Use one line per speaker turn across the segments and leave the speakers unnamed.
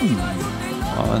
Mm.
Ja,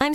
I'm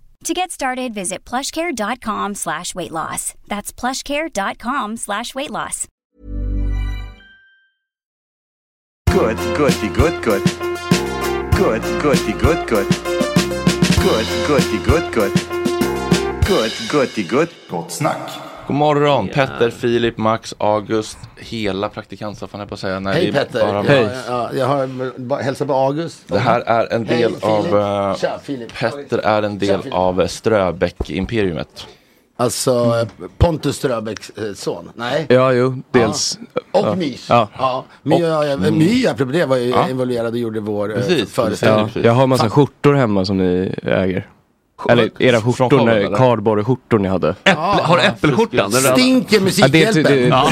To get started, visit plushcare.com slash weight loss. That's plushcare.com slash weight loss.
Good, goody, good, good. Good, goody, good, good. Good, goody, good, good. Good, goody, good.
Gott snack.
God morgon Petter, Filip, Max, August, hela praktikantsoffan här på att säga. Nej,
Hej
det är
Petter!
bara-
Jag, jag, jag har bara hälsat på August.
Det här är en del
Hej,
av...
Filip.
eh,
Tja, Filip.
Petter är en del
Tja, Filip.
av Ströbäck-imperiumet.
Alltså eh, Pontus Ströbecks eh, son. Nej.
Ja, jo, dels.
Och Mys. Ja.
Ja.
My, ja, ja, My, apropå det, var ju involverad och gjorde vår eh,
Precis,
föreställning.
precis.
Jag har massa skjortor hemma som ni äger.
Eller era
Från
skjortor,
kollen,
när-
eller?
kardborreskjortor ni hade.
Äpple, har du äppelskjortan? Den röda?
Stinker
Ja, det, det,
Musikhjälpen?
Ja,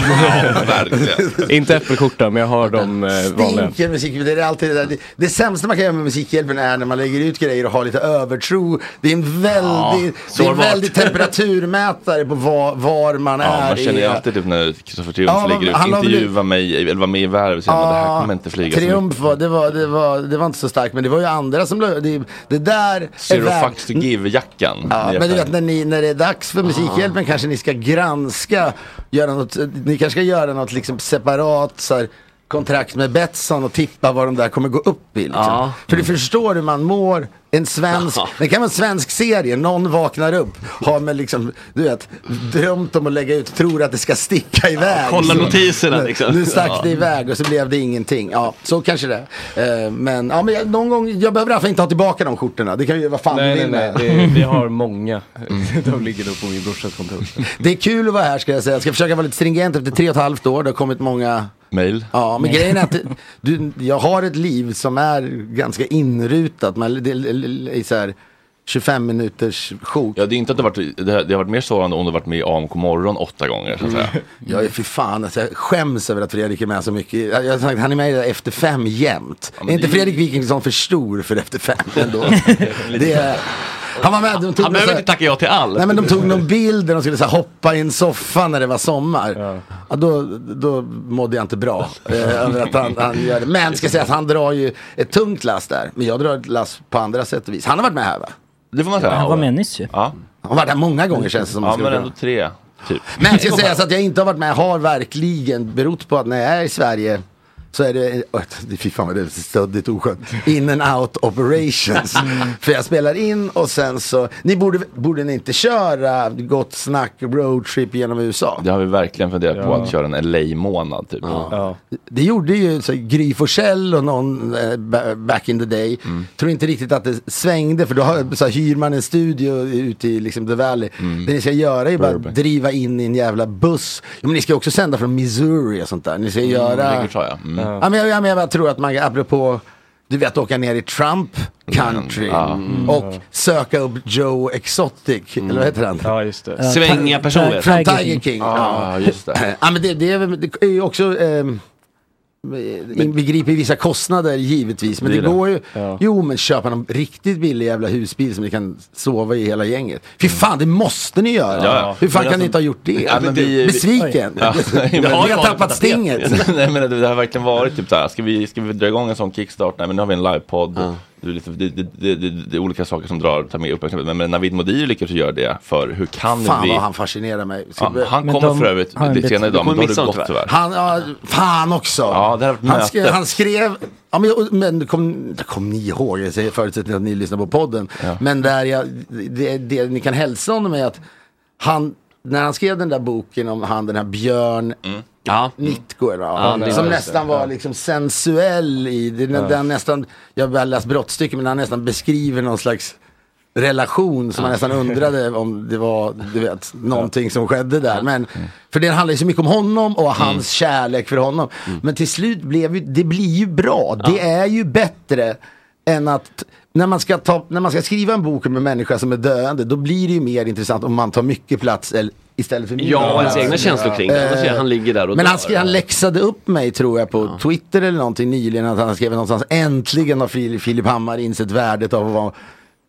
verkligen.
inte äppelskjorta, men jag har de eh, vanliga.
Stinker musikhjälpen, det är alltid det där. Det, det sämsta man kan göra med musikhjälpen är när man lägger ut grejer och har lite övertro. Det är en väldig, det är en
sårbart.
väldig temperaturmätare på var, var man
Ja,
är.
man känner
i-
ju alltid typ när Kristoffer Triumf
Ja,
lägger ut,
han har väl-
intervjua mig eller var med i Värv, säger man det här kommer inte flyga så mycket.
Triumf var det, var, det var, det var inte så starkt men det var ju andra som lö- det, det där är
Zero
värt-
fucks to give-jackan.
Ja, men du vet när, ni, när det är dags för Musikhjälpen kanske ni ska granska, göra något, ni kanske ska göra något liksom separat så här, kontrakt med Betsson och tippa vad de där kommer gå upp i. Liksom. För du förstår hur man mår, en svensk, det kan vara en svensk serie, någon vaknar upp, har med liksom, du vet, drömt om att lägga ut, tror att det ska sticka iväg.
kolla
Så-
notiserna, liksom.
Nu stack
Ja.
det iväg och så blev det ingenting. Ja, så kanske det är. Eh, Men, ja, men jag, någon gång, jag behöver i alla fall inte ha tillbaka de skjortorna, det kan ju vara fan
Nej, nej,
vill
nej.
med.
Det, vi har många.
Mm.
De ligger då på min brorsas kontor.
Det är kul att vara här ska jag säga. Jag ska försöka vara lite stringent efter tre och ett halvt år. Det har kommit många...
Mail.
Ja, men grejen är att du, jag har ett liv som är ganska inrutat. Men det är i så här 25 minuters sjok.
Ja, det är inte att det, har varit, det, har- det har varit mer sårande om du har varit med i AMK morgon åtta gånger. Så att säga.
Jag är för fan, alltså, jag skäms över att Fredrik är med så mycket. Jag jag har sagt, han är med i det där Efter Fem jämt.
men
är inte
det-
Fredrik Wikingsson för stor för Efter Fem ändå? det är... Han var med, de tog
Han
någon så
behöver
här-
inte tacka ja till allt.
Nej men de tog någon bild där de skulle så här, hoppa i en soffa när det var sommar. Ja. då, då mådde jag inte bra eh, över att han, han gör det. Men ska säga att han drar ju ett tungt last där. Men jag drar ett last på andra sätt och vis. Han har varit med här va?
Det får man säga.
Han var med nyss ju.
Ja,
Han har varit här många gånger känns det som. man
ja
skulle
men
kunna-
ändå tre. Typ.
men jag ska säga så att jag inte har varit med har verkligen berott på att när jag är i Sverige så är det, åh, det- fy fan vad det är stöddigt oskönt, in and out operations. För jag spelar in och sen så, ni borde, borde ni inte köra gott snack roadtrip genom USA?
Det har vi verkligen funderat på att köra en LA-månad typ.
Ja.
Det gjorde ju så, här Gry Forssell och någon eh, ba- back in the day. Tror inte riktigt att det svängde för då har, så här, hyr man en studio ute i liksom, the valley. Det ni ska göra är bara att driva in i en jävla buss. Ja, men ni ska också sända från Missouri och sånt där. Ni ska göra...
Läckert sa jag. Mm.
Ja, men jag, jag, men jag tror att man, apropå, du vet åka ner i Trump country och söka upp Joe Exotic, eller vad heter han?
ja, just det.
Svänga personer.
Tiger
Tiger
King.
King. Ja.
Ja, just det.
Eh, Ja men det, det, är, väl- det är ju också ehm, eh, inbegriper vissa kostnader givetvis. Men det,
Det är det.
går ju. Jo men köpa någon riktigt billig jävla husbil som ni kan sova i hela gänget. Fy fan det måste ni göra.
Mm. Ja, ja.
Hur fan
Men
kan
alltså-
ni inte ha gjort det?
Ja, men vi-
Besviken.
Ja,
Ni
men-
har tappat stinget.
Nej men det, det har verkligen varit typ såhär, ska vi, ska vi dra igång en sån kickstart? Nej men nu har vi en livepodd. Det, är lite- det, det, det, det, det är olika saker som drar, tar med uppmärksamhet. Men, men Navid Modiri lyckas ju göra det för hur kan
Fan
vi?
vad han fascinerar mig. Ska
Ja,
vi-
han
Men
kommer
de
för övrigt
har en
lite
bit-
senare idag,
kommer
men då har
missa
det
dem,
gått
tyvärr.
tyvärr.
Han, ja, fan också.
Ja, det här var ett
han,
möte.
skrev, han skrev, ja, men, jag, men kom, kom ni ihåg, jag säger förutsättningen att ni lyssnar på podden. Men där jag, det, det ni kan hälsa honom är att han, när han skrev den där boken om han den här Björn
Mm.
Ja.
Mittgård, va?
det
som
var
nästan var liksom sensuell i, det, den, den nästan, jag har bara läst brottstycken men han nästan beskriver någon slags relation som man nästan undrade om det var du vet, någonting som skedde där. Men,
Mm.
för det handlar ju så mycket om honom och hans kärlek för honom.
Mm.
Men till slut blev ju, det blir ju bra. Det är ju bättre än att när man, ska ta, när man ska skriva en bok om en människa som är döende då blir det ju mer intressant om man tar mycket plats eller, istället för mindre
Ja, och ens
plats.
egna känslor kring det. Annars är Han ligger där och
Men
dör.
han, skrev, han läxade upp mig tror jag på Twitter eller någonting nyligen att han skrev någonstans äntligen har Fil- Filip Hammar insett värdet av att vara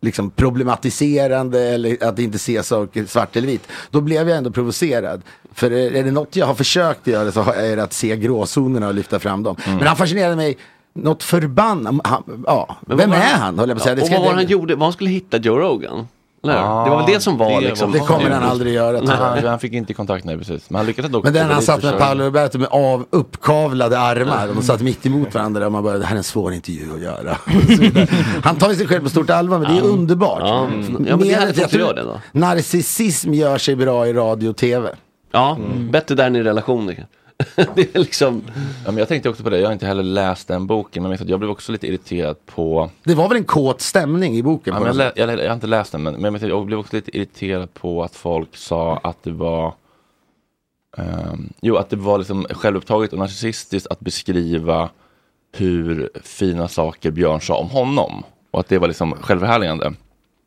liksom problematiserande eller att inte se saker svart eller vitt. Då blev jag ändå provocerad. För är är det något jag har försökt göra så har- är det att se gråzonerna och lyfta fram dem. Men han fascinerade mig något förbannat. Han, ja.
Mm. Men vad
Vem är
var
han? Höll jag på att säga. Det
och
ska-
vad var
det-
det han gjorde? Vad han skulle hitta Joe Rogan? Eller?
Ah,
det var väl det som var
det
liksom.
var-
det kommer han aldrig göra. tror jag.
Han, han fick inte kontakt, nej precis. Men han lyckades ändå
Men den
komma
han
dit och
satt med
köra.
Paolo Roberto med av, uppkavlade armar. och De satt mitt emot varandra och man bara, det här är en svår intervju att göra. Och så vidare. han tar ju sig själv på stort allvar men det är underbart. Mm.
Ja, men- ja, men det är
Mer
härligt
än-
att du
jag tror
gör det då.
Narcissism gör sig bra i radio och tv.
Ja, bättre där än i relationer. det är liksom,
Mm. Ja, men jag tänkte också på det, jag har inte heller läst den boken, men jag vet att jag blev också lite irriterad på
Det var väl en kåt stämning i boken?
Ja,
på
men jag,
den-
lä- jag, lä- jag har inte läst den, men, men jag vet inte, jag blev också lite irriterad på att folk sa att det var ehm, Jo, att det var liksom självupptaget och narcissistiskt att beskriva hur fina saker Björn sa om honom. Och att det var liksom självförhärligande.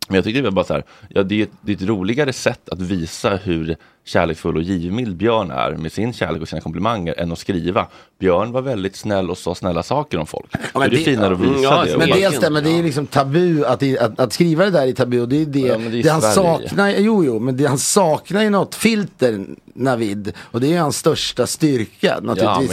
Men jag tyckte det var bara så här, ja, det, är ett, det är ett roligare sätt att visa hur kärleksfull och givmild Björn är med sin kärlek och sina komplimanger än att skriva. Björn var väldigt snäll och sa snälla saker om folk. Så det är finare att visa det.
Mm, Men dels det, men det är liksom tabu att, i- att, att skriva det där i tabu. Och det är det,
men det
det,
är
han
Sverige.
saknar, jo jo, men det han saknar ju något filter, Navid. Och det är ju hans största styrka naturligtvis.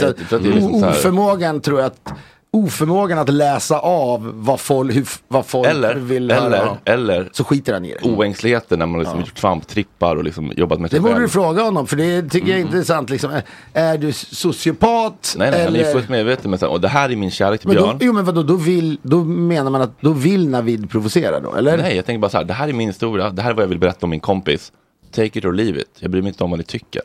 men jag
Att
tror att det är liksom
o-
så här-
oförmågan tror jag att, oförmågan att läsa av vad folk, hur, f- vad folk
Eller,
vill
eller,
höra.
eller
Så skiter han i det.
oängsligheten när man liksom gjort svamptrippar och liksom jobbat med
Det
sig
borde
själv.
du fråga honom, för det tycker jag är intressant. Liksom. Är- Är du sociopat?
Mm. Nej, nej, han är
eller-
fullt medveten. Men så här, och det här är min kärlek till
men då,
Björn.
jo men vadå, då, vill, då menar man att då vill Navid provocera då, eller?
Nej, jag tänker bara så här, det här är min historia, det här är vad jag vill berätta om min kompis. Take it or leave it, jag bryr mig inte om vad ni tycker.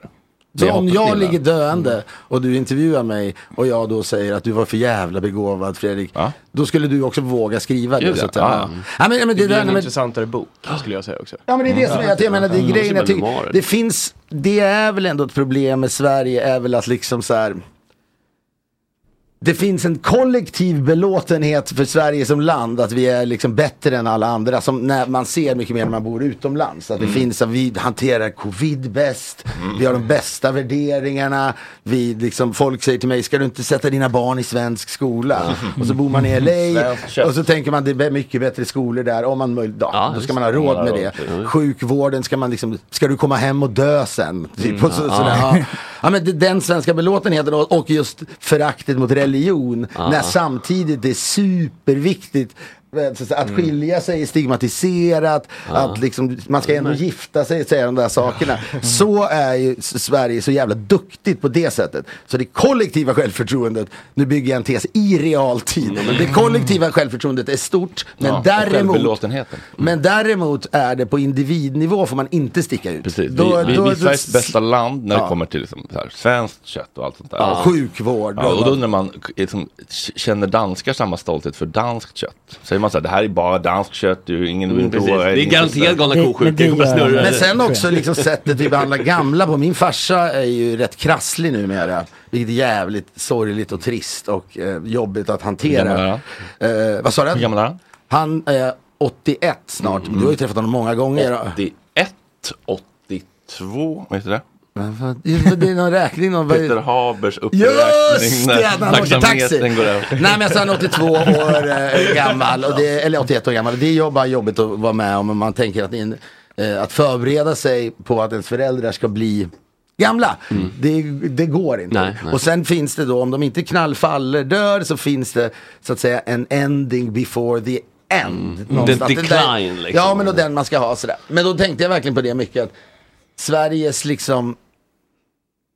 Det Mm.
Så om
hoppas
jag
ni
ligger
med.
döende och du intervjuar mig och jag då säger att du var för jävla begåvad Fredrik.
Ja.
Då skulle du också våga skriva det.
Gud,
Så
ja.
att, ja.
Ja, ja.
Ja, men, ja, men det,
Det
där,
är en
nej, men,
intressantare bok, skulle jag säga också.
ja men det är
Mm.
det som är, att jag menar det är grejen. Jag
väl
tycker,
memoarer.
det finns, det är väl ändå ett problem med Sverige är väl att liksom så här. Det finns en kollektiv belåtenhet för Sverige som land att vi är liksom bättre än alla andra. Som när man ser mycket mer när man bor utomlands. Att det finns att vi hanterar covid bäst. Vi har de bästa värderingarna. Vi liksom, folk säger till mig, ska du inte sätta dina barn i svensk skola? Och så bor man i LA.
Svenskt kött.
Och så tänker man, det är mycket bättre skolor där. Om man möjligt, ja, då ska man ha råd med det. Sjukvården ska man liksom, ska du komma hem och dö sen? Typ,
Mm,
och så, sådär, ja. Ja, men det- den svenska belåtenheten och, och just föraktet mot religion när samtidigt det är superviktigt eh, så- så Att
Mm.
skilja sig är stigmatiserat, att liksom, man ska
Mm.
ändå gifta sig, säga de där sakerna. Så är ju S- Sverige så jävla duktigt på det sättet. Så det kollektiva självförtroendet, nu bygger jag en tes, i realtid. Det kollektiva självförtroendet är stort, men
Mm. Ja, och
däremot
Självbelåtenheten.
men däremot är det på individnivå får man inte sticka ut.
Precis,
Då-
vi, vi,
då-
vi är
då-
Sveriges bästa land när
Ja.
det kommer till liksom, så här, svenskt kött och allt sånt där.
Ja, sjukvård.
Ja, och då undrar man, liksom, k- känner danskar samma stolthet för danskt kött? Säger man så här, det här är bara danskt kött, du, är ingen mm,
Precis. Det är garanterat galna
Det- men det
ko-sjukan. kommer
gör-
att snurra.
men sen också liksom sättet vi behandlar gamla på. Min farsa är ju rätt krasslig numera. Vilket är jävligt sorgligt och trist och eh, jobbigt att
Hur
hantera.
gammal
Eh, vad sa
Hur
du?
gammal är han? Mm.
Han är 81 snart. Du har ju träffat honom många gånger.
81, 82, vet du det?
Men vad- Det är någon räkning. Någon,
Peter Habers uppräkning.
Just det, att han åkte taxi.
tacksamheten går
Nej
över.
men alltså han är 82 år eh, gammal, och det, eller 81 år gammal. Det är ju bara jobbigt att vara med om. Man tänker att, in, eh, att förbereda sig på att ens föräldrar ska bli gamla. Det, det går inte.
Mm. Nej, nej.
Och sen finns det då, om de inte knallfaller, dör, så finns det så att säga en ending before the end. någonstans.
Mm. The
Den där-
decline, liksom.
Ja men och den man ska ha sådär. Men då tänkte jag verkligen på det mycket. Att Sveriges liksom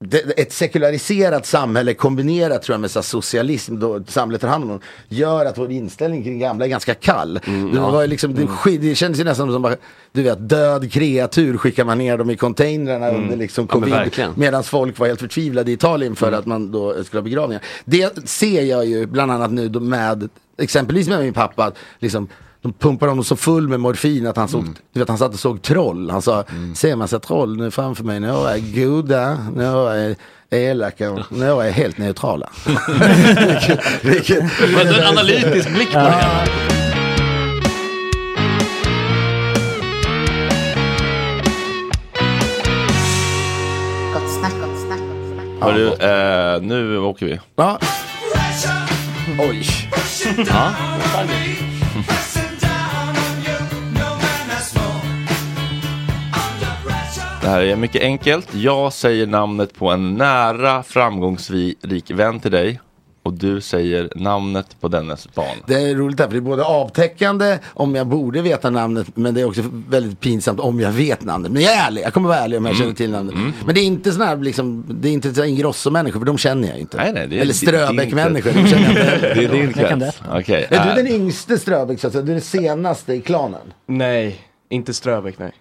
det, ett sekulariserat samhälle kombinerat tror jag med så här, socialism, då samhället tar hand om dem, gör att vår inställning kring gamla är ganska kall.
Mm,
det, var ju liksom, det, sk- det kändes ju nästan som bara, du vet, död kreatur skickar man ner dem i containrarna under liksom
Mm. Ja, men
covid.
verkligen. Mm.
Medan folk var helt förtvivlade i Italien för att man då skulle ha begravningar. Det ser jag ju bland annat nu då med, exempelvis med min pappa, att liksom, de pumpar honom så full med morfin att han såg,
Mm.
du vet han satt och såg troll. Han sa, ser man sig troll nu framför mig, några är goda, några är elaka, och några är helt neutrala. vilket, vilket,
Det var en analytisk blick på det hela.
Gott snack, gott snack, gott snack.
Hörru, eh, nu åker vi.
ja. Oj.
Det här är mycket enkelt. Jag säger namnet på en nära framgångsrik vän till dig. Och du säger namnet på dennes barn.
Det är roligt här, för det är både avtäckande om jag borde veta namnet, men det är också väldigt pinsamt om jag vet namnet. Men jag är ärlig, jag kommer vara ärlig om jag
Mm.
känner till namnet. Men det är inte sådana här, liksom, det är inte så här Ingrosso-människor, för de känner jag inte.
Nej, nej, det är-
Eller
det- det är
Ströbeck-människor, de känner jag inte heller.
Det är din
Jag kan
krets. Okej.
Är
eh,
du den yngste Ströbeck, så att säga? Du är den senaste i klanen?
Nej, inte Ströbeck, nej.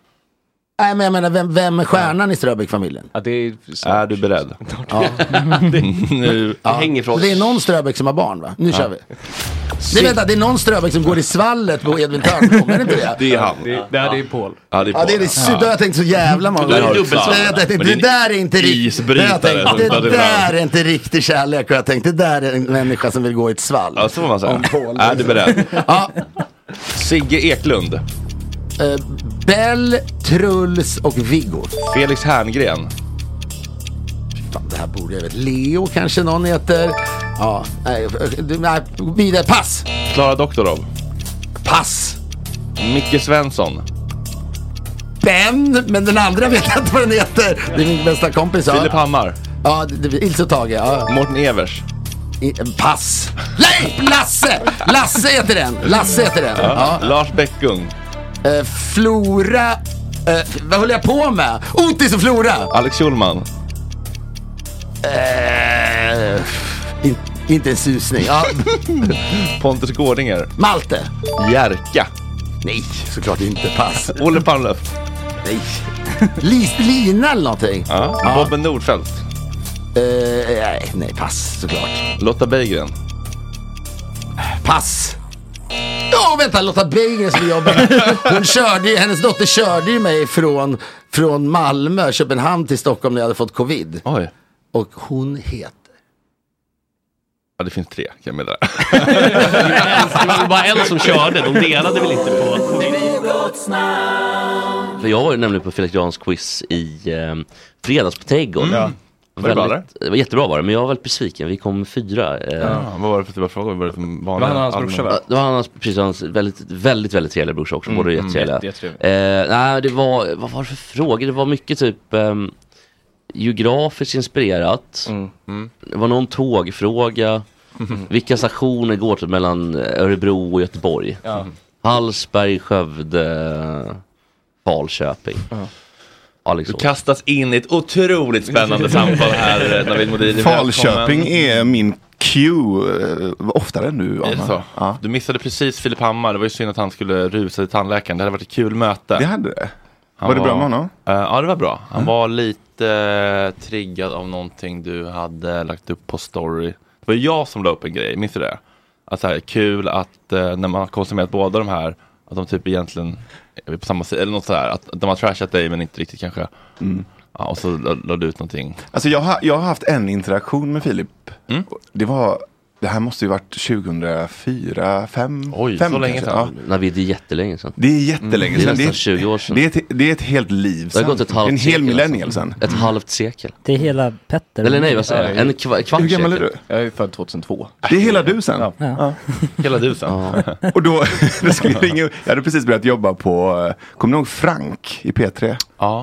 Nej, men jag menar, vem, vem är stjärnan i Ströbeck-familjen?
Ja, det är
är du beredd? nu.
Det hänger från...
Det är någon Ströbeck som har barn, va? Nu kör vi. Nej, vänta, det är någon Ströbeck som går i svallet på Edvin Törnblom, är det inte det?
Det är han.
Det, det, här, det är Paul.
Ja, det är,
Ja, det är det. Så, då har jag tänkt så jävla många
Det är
gånger.
dubbelsvarad.
Nej, jag tänkte,
Men
Det
det är en
där är inte riktigt...
isbrytare som
Det
faller
där
fram.
är inte riktig kärlek. Och jag tänkte, det där är en människa som vill gå i ett svall.
Ja, så får man säga.
Om Paul.
Är du beredd?
Ja,
Sigge Eklund.
Eh, Bell, Truls och Viggo.
Felix Herngren.
Fan, det här borde jag veta. Leo kanske någon heter. Ja, nej, du- nej vidare. Pass!
Klara Doktorov.
Pass!
Micke Svensson.
Ben, men den andra vet jag inte vad den heter. Det är min bästa kompis. ja.
Filip Hammar.
Ja, det, det, Ilse och Tage. Ja.
Mårten Evers.
I, eh, pass. Nej, Lasse! Lasse heter den. Lasse heter den. Ja.
Lars Bäckgung.
Eh, Flora... eh, vad håller jag på med? Otis och Flora!
Alex Schulman.
Eh, in, inte en susning. Ja.
Pontus Gårdinger.
Malte.
Jerka.
Nej, såklart inte. Pass.
Olle Palmlöf.
Nej. Lis, Lina eller någonting.
Ja.
Ja.
Bobben Nordfeldt.
Eh, nej, nej, pass såklart.
Lotta Berggren.
Pass. Ja, vänta, Lotta Beijer som jobbar här. Hon körde ju, hennes dotter körde ju mig från, från Malmö, Köpenhamn till Stockholm när jag hade fått covid.
Oj.
Och hon heter...
Ja, det finns tre kan jag meddela.
Det var väl bara en som körde, de delade väl inte på... För jag var ju nämligen på Felix Jans quiz i eh, fredags på Trädgården.
Mm. Var det bra, eller?
det var jättebra var det, men jag var väldigt besviken. Vi kom fyra. Eh,
Ja, vad var det för typ av frågor? Var det för vanliga?
Det var han och hans brorsa, va?
Ja, Det var hans, precis, hans väldigt, väldigt, väldigt trevliga brorsa också, båda
Mm,
jättetrevliga.
jätte- jättetrevlig.
Eh, nej, det var, vad var det för frågor? Det var mycket typ ehm, geografiskt inspirerat.
Mm,
Det var någon tågfråga. Vilka stationer går typ mellan Örebro och Göteborg? Hallsberg, Skövde, Falköping. Ja, liksom.
Du kastas in i ett otroligt spännande samtal här eh, Navid Modiri.
Falköping
Välkommen.
är min cue eh, oftare än du.
Är det så?
Anna. Ja.
Du missade precis Filip Hammar, det var ju synd att han skulle rusa till tandläkaren. Det hade varit ett kul möte.
Det hade det.
Han
var det bra med honom? Mm.
Eh, ja, det var bra. Han var lite eh, triggad av någonting du hade lagt upp på story. Det var ju jag som la upp en grej, minns du det? Att så här, kul att eh, när man har konsumerat båda de här, att de typ egentligen är på samma sida, eller något sådär. Att de har trashat dig men inte riktigt kanske.
Mm.
Ja, och så la, la du ut någonting.
Alltså jag, har, jag har haft en interaktion med Filip.
Mm.
Det var, det här måste ju varit 2004, 5,
Oj,
5
så länge
kanske.
sedan.
Ja.
Navid, det är jättelänge sedan.
Det är jättelänge
Mm. Det är
sedan.
nästan
Det är,
20 år sedan.
det, är ett, det är ett helt liv
Det har
sedan.
gått ett halvt
en hel
sekel,
millennial
alltså.
sedan.
Ett halvt sekel.
Mm.
Det är hela Petter.
Eller nej, vad säger jag? En kva- kvarts
Hur gammal är
sekel.
du?
Jag är född 2002.
Det är hela du sen.
Ja.
Hela du sen.
Och då, då skulle jag ringa upp. Jag hade precis börjat jobba på, eh, kommer ni ihåg Frank i P3?
Ja.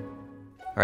All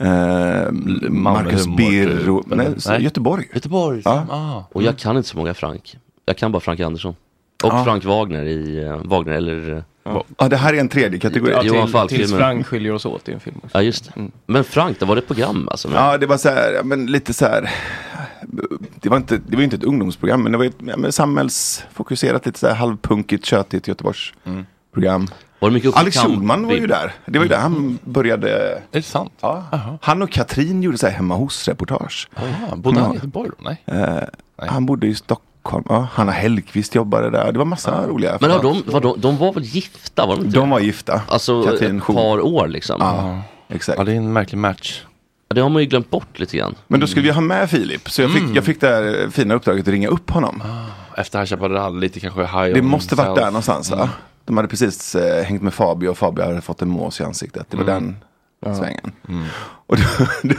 Eh, Marcus
humor,
Birro,
typ,
nej,
eller?
så-
Nej.
Göteborg.
Göteborg.
Ja. Mm.
Ah.
Och jag kan inte så många Frank. Jag kan bara Frank Andersson. Och
Ja.
Frank Wagner i eh, Wagner eller eh,
Ja, det här är en tredje kategori.
Ja, Johan
till-
Falk-filmen.
Tills Frank skiljer oss åt i en film. Också. Mm.
Ja just det. Men Frank, det var det ett program alltså? Men,
Ja, det var så här, ja, men lite så här. Det var inte, det var inte ett ungdomsprogram, men det var ett ja, men samhällsfokuserat, lite så här halvpunkigt, tjötigt Göteborgsprogram.
Var det mycket upp i
Alex
kamp- Mm.
Schulman var ju där. Det var ju där han började.
Är det sant?
Ja. Han och Katrin gjorde så här hemma hos-reportage.
Ah, bodde han i Göteborg då? Nej.
Eh, Han bodde i Stockholm. Stockholm. Ja, Hanna Hellquist jobbade där. Det var massa roliga.
Men har de, var de, de var väl gifta? Var de, inte
De var gifta.
Alltså
Katrin
ett
Schultz.
par år liksom.
Ja, exakt.
Ja, det är en märklig match. Ja, det har man ju glömt bort lite grann.
Men då skulle vi ha med Filip. Så jag fick,
Mm.
jag fick det här eh, fina uppdraget att ringa upp honom.
Ah, Efter High Chaparral, lite kanske high
Det
on
måste varit
himself. Mm.
där någonstans. va? De hade precis eh, hängt med Fabio och Fabio hade fått en mås i ansiktet. Det var
Mm.
den
Ja.
svängen. Och då, då,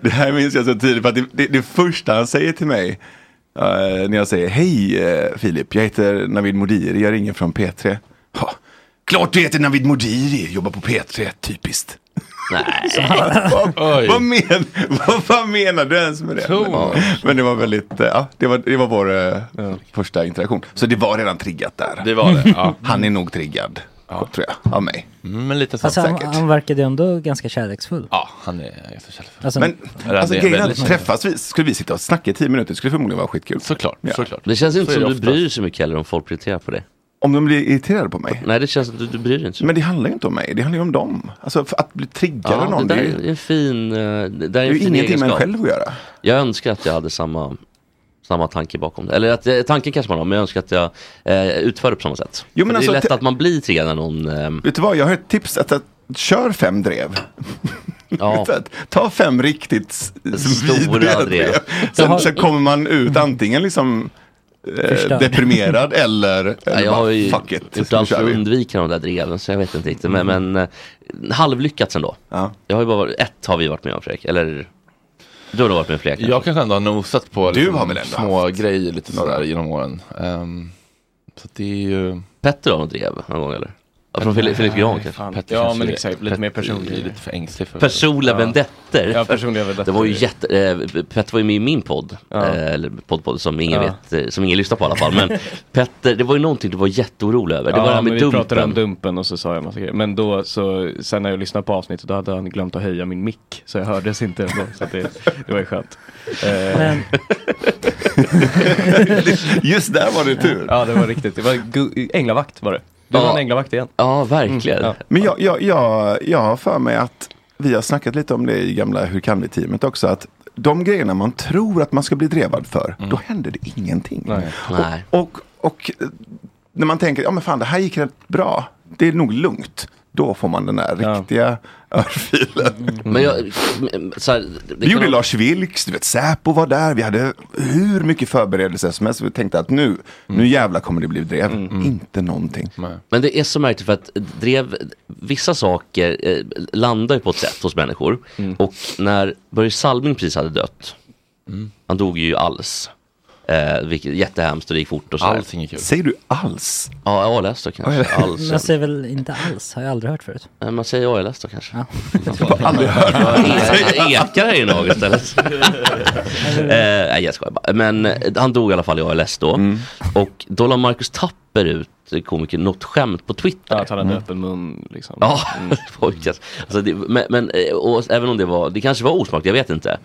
det här minns jag så tydligt. För att det, det, det första han säger till mig eh, när jag säger hej eh, Filip, jag heter Navid Modiri, jag ringer från P3. Ha, Klart du heter Navid Modiri, jobbar på P3, typiskt. Så han- vad, vad, men, vad, vad menar du ens med det? Men, men det var väldigt, eh, ja, det var, det var vår eh, första interaktion. Så det var redan triggat där.
Det var det, ja.
Han är nog triggad, tror jag, av mig.
Men lite så.
Alltså, han,
Säkert.
han verkade ändå ganska kärleksfull.
Ja, han är ganska kärleksfull.
Alltså-
men
Eller
alltså,
det är
grejen är
väldigt
att träffas vi, skulle vi sitta och snacka i tio minuter, det skulle förmodligen vara skitkul.
Såklart,
såklart. Det känns inte
Så är
som
det
du bryr dig så mycket heller om folk blir irriterade på dig.
Om de blir irriterade på mig?
Nej, det känns att du, du bryr dig inte så
Men det handlar ju inte om mig, det handlar ju om dem. Alltså för att bli triggad av någon,
det
det,
där
är
är
ju
en fin... eh, Det, där
det
är
är
en
ju
fin
ingenting med en
egenskap.
själv att göra.
Jag önskar att jag hade samma, samma tanke bakom det. Eller att, eh, tanken kanske man har, men jag önskar att jag eh, utför det på samma sätt.
Jo, men
För
alltså,
det är lätt
te-
att man blir triggad när någon... ehm,
Vet du vad, jag har ett tips att, att kör fem drev.
Ja.
Så att, Ta fem riktigt s-
Stora
vidriga
drev.
drev.
Jag har-
Sen, sen kommer man ut antingen liksom eh,
Förstörd.
deprimerad eller, eller
Nej, jag
bara,
har ju
fuck it.
gjort
nu
allt
kör
för att
vi."
undvika de där dreven så jag vet inte riktigt. Men, men eh, halvlyckats ändå. Jag har ju bara varit, ett har vi varit med om Fredrik, eller du har nog varit med om fler kanske.
Jag kanske ändå har nosat på
Du har väl ändå
små grejer lite sådär genom åren. Ehm, så att det är ju...
Petter har något drev någon gång eller? Ja, från Filip- Filip Gran kanske.
Petter
Ja,
kanske
men
är-
exakt,
lite mer
Petter
personlig.
är Lite för ängslig för
Personliga
Ja.
vendettor.
Ja, personliga vendettor.
Det var ju jätte... Eh, Petter var ju med i min podd. Eh, eller poddpodd som ingen
Ja.
vet, eh, som ingen lyssnar på i alla fall. Men Petter, det var ju någonting du var jätteorolig över. Det
ja,
var det här med
men vi
dumpen.
pratade om dumpen och så sa jag massa grejer. Men då så, sen när jag lyssnade på avsnittet då hade han glömt att höja min mick. Så jag hördes inte ändå. Så att det, det var ju skönt. Eh,
Men-
Just där var det tur.
Ja, det var riktigt. Det var gu- änglavakt var det. Du
Ja.
var en Mm, änglavakt igen.
Ja, verkligen.
Men jag, jag, jag, jag har för mig att vi har snackat lite om det i gamla Hur kan vi-teamet också. Att de grejerna man tror att man ska bli drevad för, då händer det ingenting.
Nej.
Och, och, och eh, när man tänker, ja men fan det här gick rätt bra, det är nog lugnt. Då får man den där riktiga
Mm.
örfilen.
Men
Mm.
jag, så här, det
vi
kan
gjorde
vara-
Lars Vilks, du vet Säpo var där, vi hade hur mycket förberedelser som helst. Vi tänkte att nu, nu jävlar kommer det bli drev. Inte någonting.
Men det är så märkligt för att drev, vissa saker eh, landar ju på ett sätt hos människor.
Mm.
Och när Börje Salming precis hade dött,
Mm.
han dog ju alls. Eh, vilket jättehemskt och det gick fort och så.
Allting är kul.
Säger du alls?
Ja, ALS då kanske.
Men jag
Alls.
säger väl inte alls, har jag aldrig hört förut.
Nej, Man säger ALS då kanske.
Ja.
Jag har aldrig hört det. Ekar det i något istället? eh, nej, jag skojar bara. Men eh, han dog i alla fall i ALS då.
Mm.
Och då la Marcus Tapper ut, eh, komikern, något skämt på Twitter.
Att han hade
Mm.
öppen mun liksom.
Ja, pojkas. Alltså det, men, men eh, och, även om det var, det kanske var osmakligt, jag vet inte.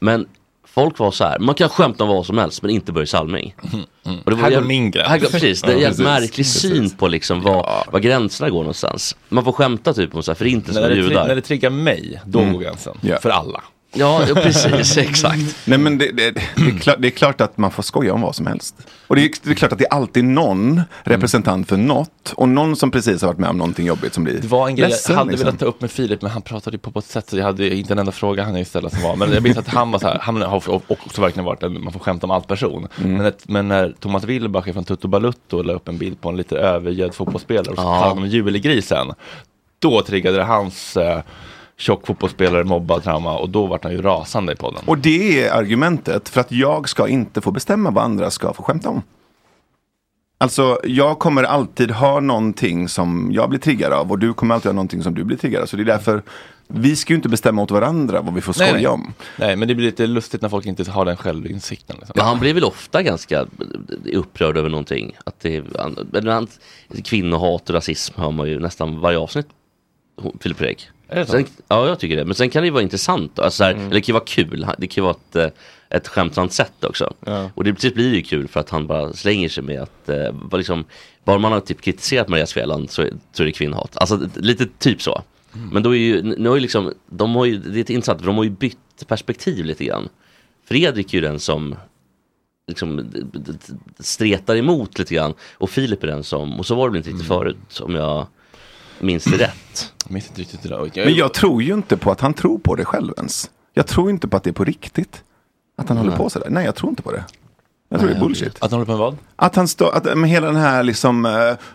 Men folk var så här, man kan skämta om vad som helst men inte Börje Salming. Och
Mm, Här går
jävligt-
min gräns.
Här går, precis, det är
Ja,
en jävligt
precis.
märklig syn på liksom vad, vad gränserna går någonstans. Man får skämta typ om så här förintelsen
När
av
det, tri- när
judar.
det triggar mig, då
Mm.
går gränsen. För alla.
Ja, ja, precis, exakt.
Nej men det, det, det, är klart, det är klart att man får skoja om vad som helst. Och det är, det är klart att det är alltid någon representant för något och någon som precis har varit med om någonting jobbigt som blir
Det var en grej
ledsen,
jag hade
liksom.
velat ta upp med Filip, men han pratade ju på på ett sätt så jag hade inte en enda fråga han ju ställa som var. Men jag minns att han var så här, han har f- också verkligen varit en, man får skämta om allt person.
Mm.
Men, ett, men när Thomas Wilbacher från Tutto Balutto la upp en bild på en lite övergödd fotbollsspelare och så
Ja.
talade han om julgrisen. Då triggade det hans eh, tjock fotbollsspelare, mobbad, trauma och då vart han ju rasande i podden.
Och det är argumentet för att jag ska inte få bestämma vad andra ska få skämta om. Alltså jag kommer alltid ha någonting som jag blir triggad av och du kommer alltid ha någonting som du blir triggad av. Så det är därför vi ska ju inte bestämma åt varandra vad vi får skoja
nej.
om.
Nej, men det blir lite lustigt när folk inte har den självinsikten. Liksom.
Men han blir väl ofta ganska eh, upprörd över någonting. Att det, han, men han, kvinnohat och rasism hör man ju nästan varje avsnitt. ho- Filip Fredrik.
Är det så? Mm.
Sen, ja, jag tycker det. Men sen kan det ju vara intressant. då. Alltså, så här, Eller det kan ju vara kul. Han- Det kan ju vara ett, eh, ett skämtsamt sätt också.
Ja.
Och det precis blir ju kul för att han bara slänger sig med att eh, vad liksom, bara man har typ kritiserat Maria Svealand så, är- så är det kvinnohat. Alltså d- lite typ så.
Mm.
Men då är ju, nu har ju liksom, de har ju, det är intressant för de har ju bytt perspektiv lite grann. Fredrik är ju den som liksom, d- d- d- stretar emot lite grann. Och Filip är den som, och så var det väl inte riktigt
Mm.
förut om jag minns det rätt.
Jag minns inte riktigt det där.
Men jag tror ju inte på att han tror på det själv ens. Jag tror inte på att det är på riktigt. Att han håller
Nej.
på sådär. Nej, jag tror inte på det. Jag tror
Nej,
det är bullshit.
Att han håller på med vad?
Att han står, att med hela den här liksom eh,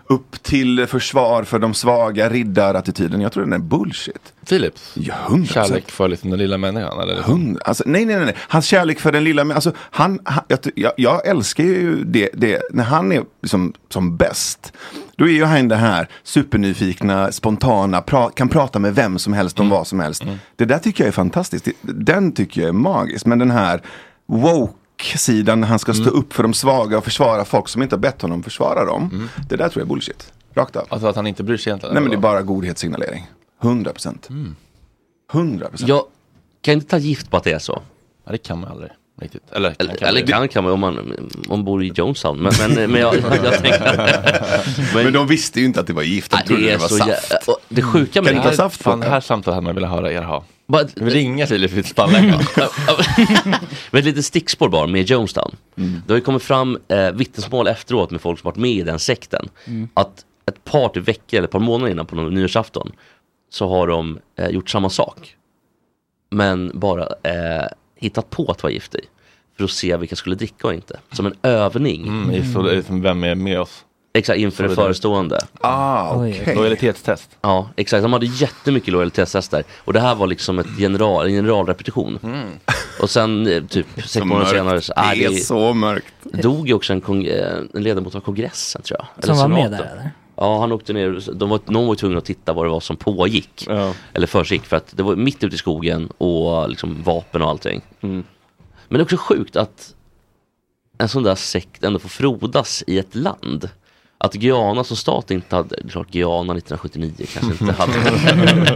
upp till försvar för de svaga riddarattityden. Jag tror den är bullshit.
Filip?
Ja, hundra
Kärlek för liksom den lilla människan? Eller?
Hund, alltså, nej, nej, nej, nej. Hans kärlek för den lilla män- alltså, han, han, jag, ty- jag, jag älskar ju det, det, när han är liksom, som bäst. Då är ju han det här supernyfikna, spontana, pra, kan prata med vem som helst om vad som helst. Det där tycker jag är fantastiskt. Det- Den tycker jag är magisk. Men den här woke-sidan när han ska stå upp för de svaga och försvara folk som inte har bett honom försvara dem. Det där tror jag är bullshit. Rakt av.
Alltså att han inte bryr sig egentligen?
Nej men det är bara godhetssignalering. 100 procent. 100 procent.
Jag kan inte ta gift på att det är så.
Ja, det kan man aldrig riktigt. Eller kan,
eller, kan, kan man om man, om man bor i Jonestown. Men, men, men jag, jag tänker...
Men de visste ju inte att det var gift. De
Nej,
trodde
Ah, det
det,
är
var
så
saft.
jä- och det sjuka med
Kan
det
du ta saft på
Fan, det
den?
här samtalet hade man velat höra er ha.
Bara-
Jag vill ringa Filip Fitzpalle.
Men ett litet stickspår bara med Jonestown.
Mm.
Det har ju kommit fram eh, vittnesmål efteråt med folk som varit med i den sekten.
Mm.
Att ett par till veckor eller ett par månader innan på någon nyårsafton så har de eh, gjort samma sak. Men bara eh, hittat på att vara gift i. För att se vilka skulle dricka och inte. Som en övning.
Mm, i sol- i- vem är med oss?
Exakt, inför det
Solidaritet.
förestående.
Ah, Oj. okej.
Lojalitetstest.
Ja, exakt. De hade jättemycket lojalitetstester. Och det här var liksom ett general, en generalrepetition. Och sen eh, typ sex månader
mörkt.
senare så, ah,
Det är så mörkt.
dog ju också en, kong- eh, en ledamot av kongressen tror jag.
Som var med
senaten.
där, eller?
Ja, han åkte ner. De var, någon var ju tvungen att titta vad det var som pågick. Eller försiggick. För att det var mitt ute i skogen och liksom vapen och allting.
Mm.
Men det är också sjukt att en sån där sekt ändå får frodas i ett land. Att Guyana som stat inte hade, det är klart Guyana 1979 kanske inte hade.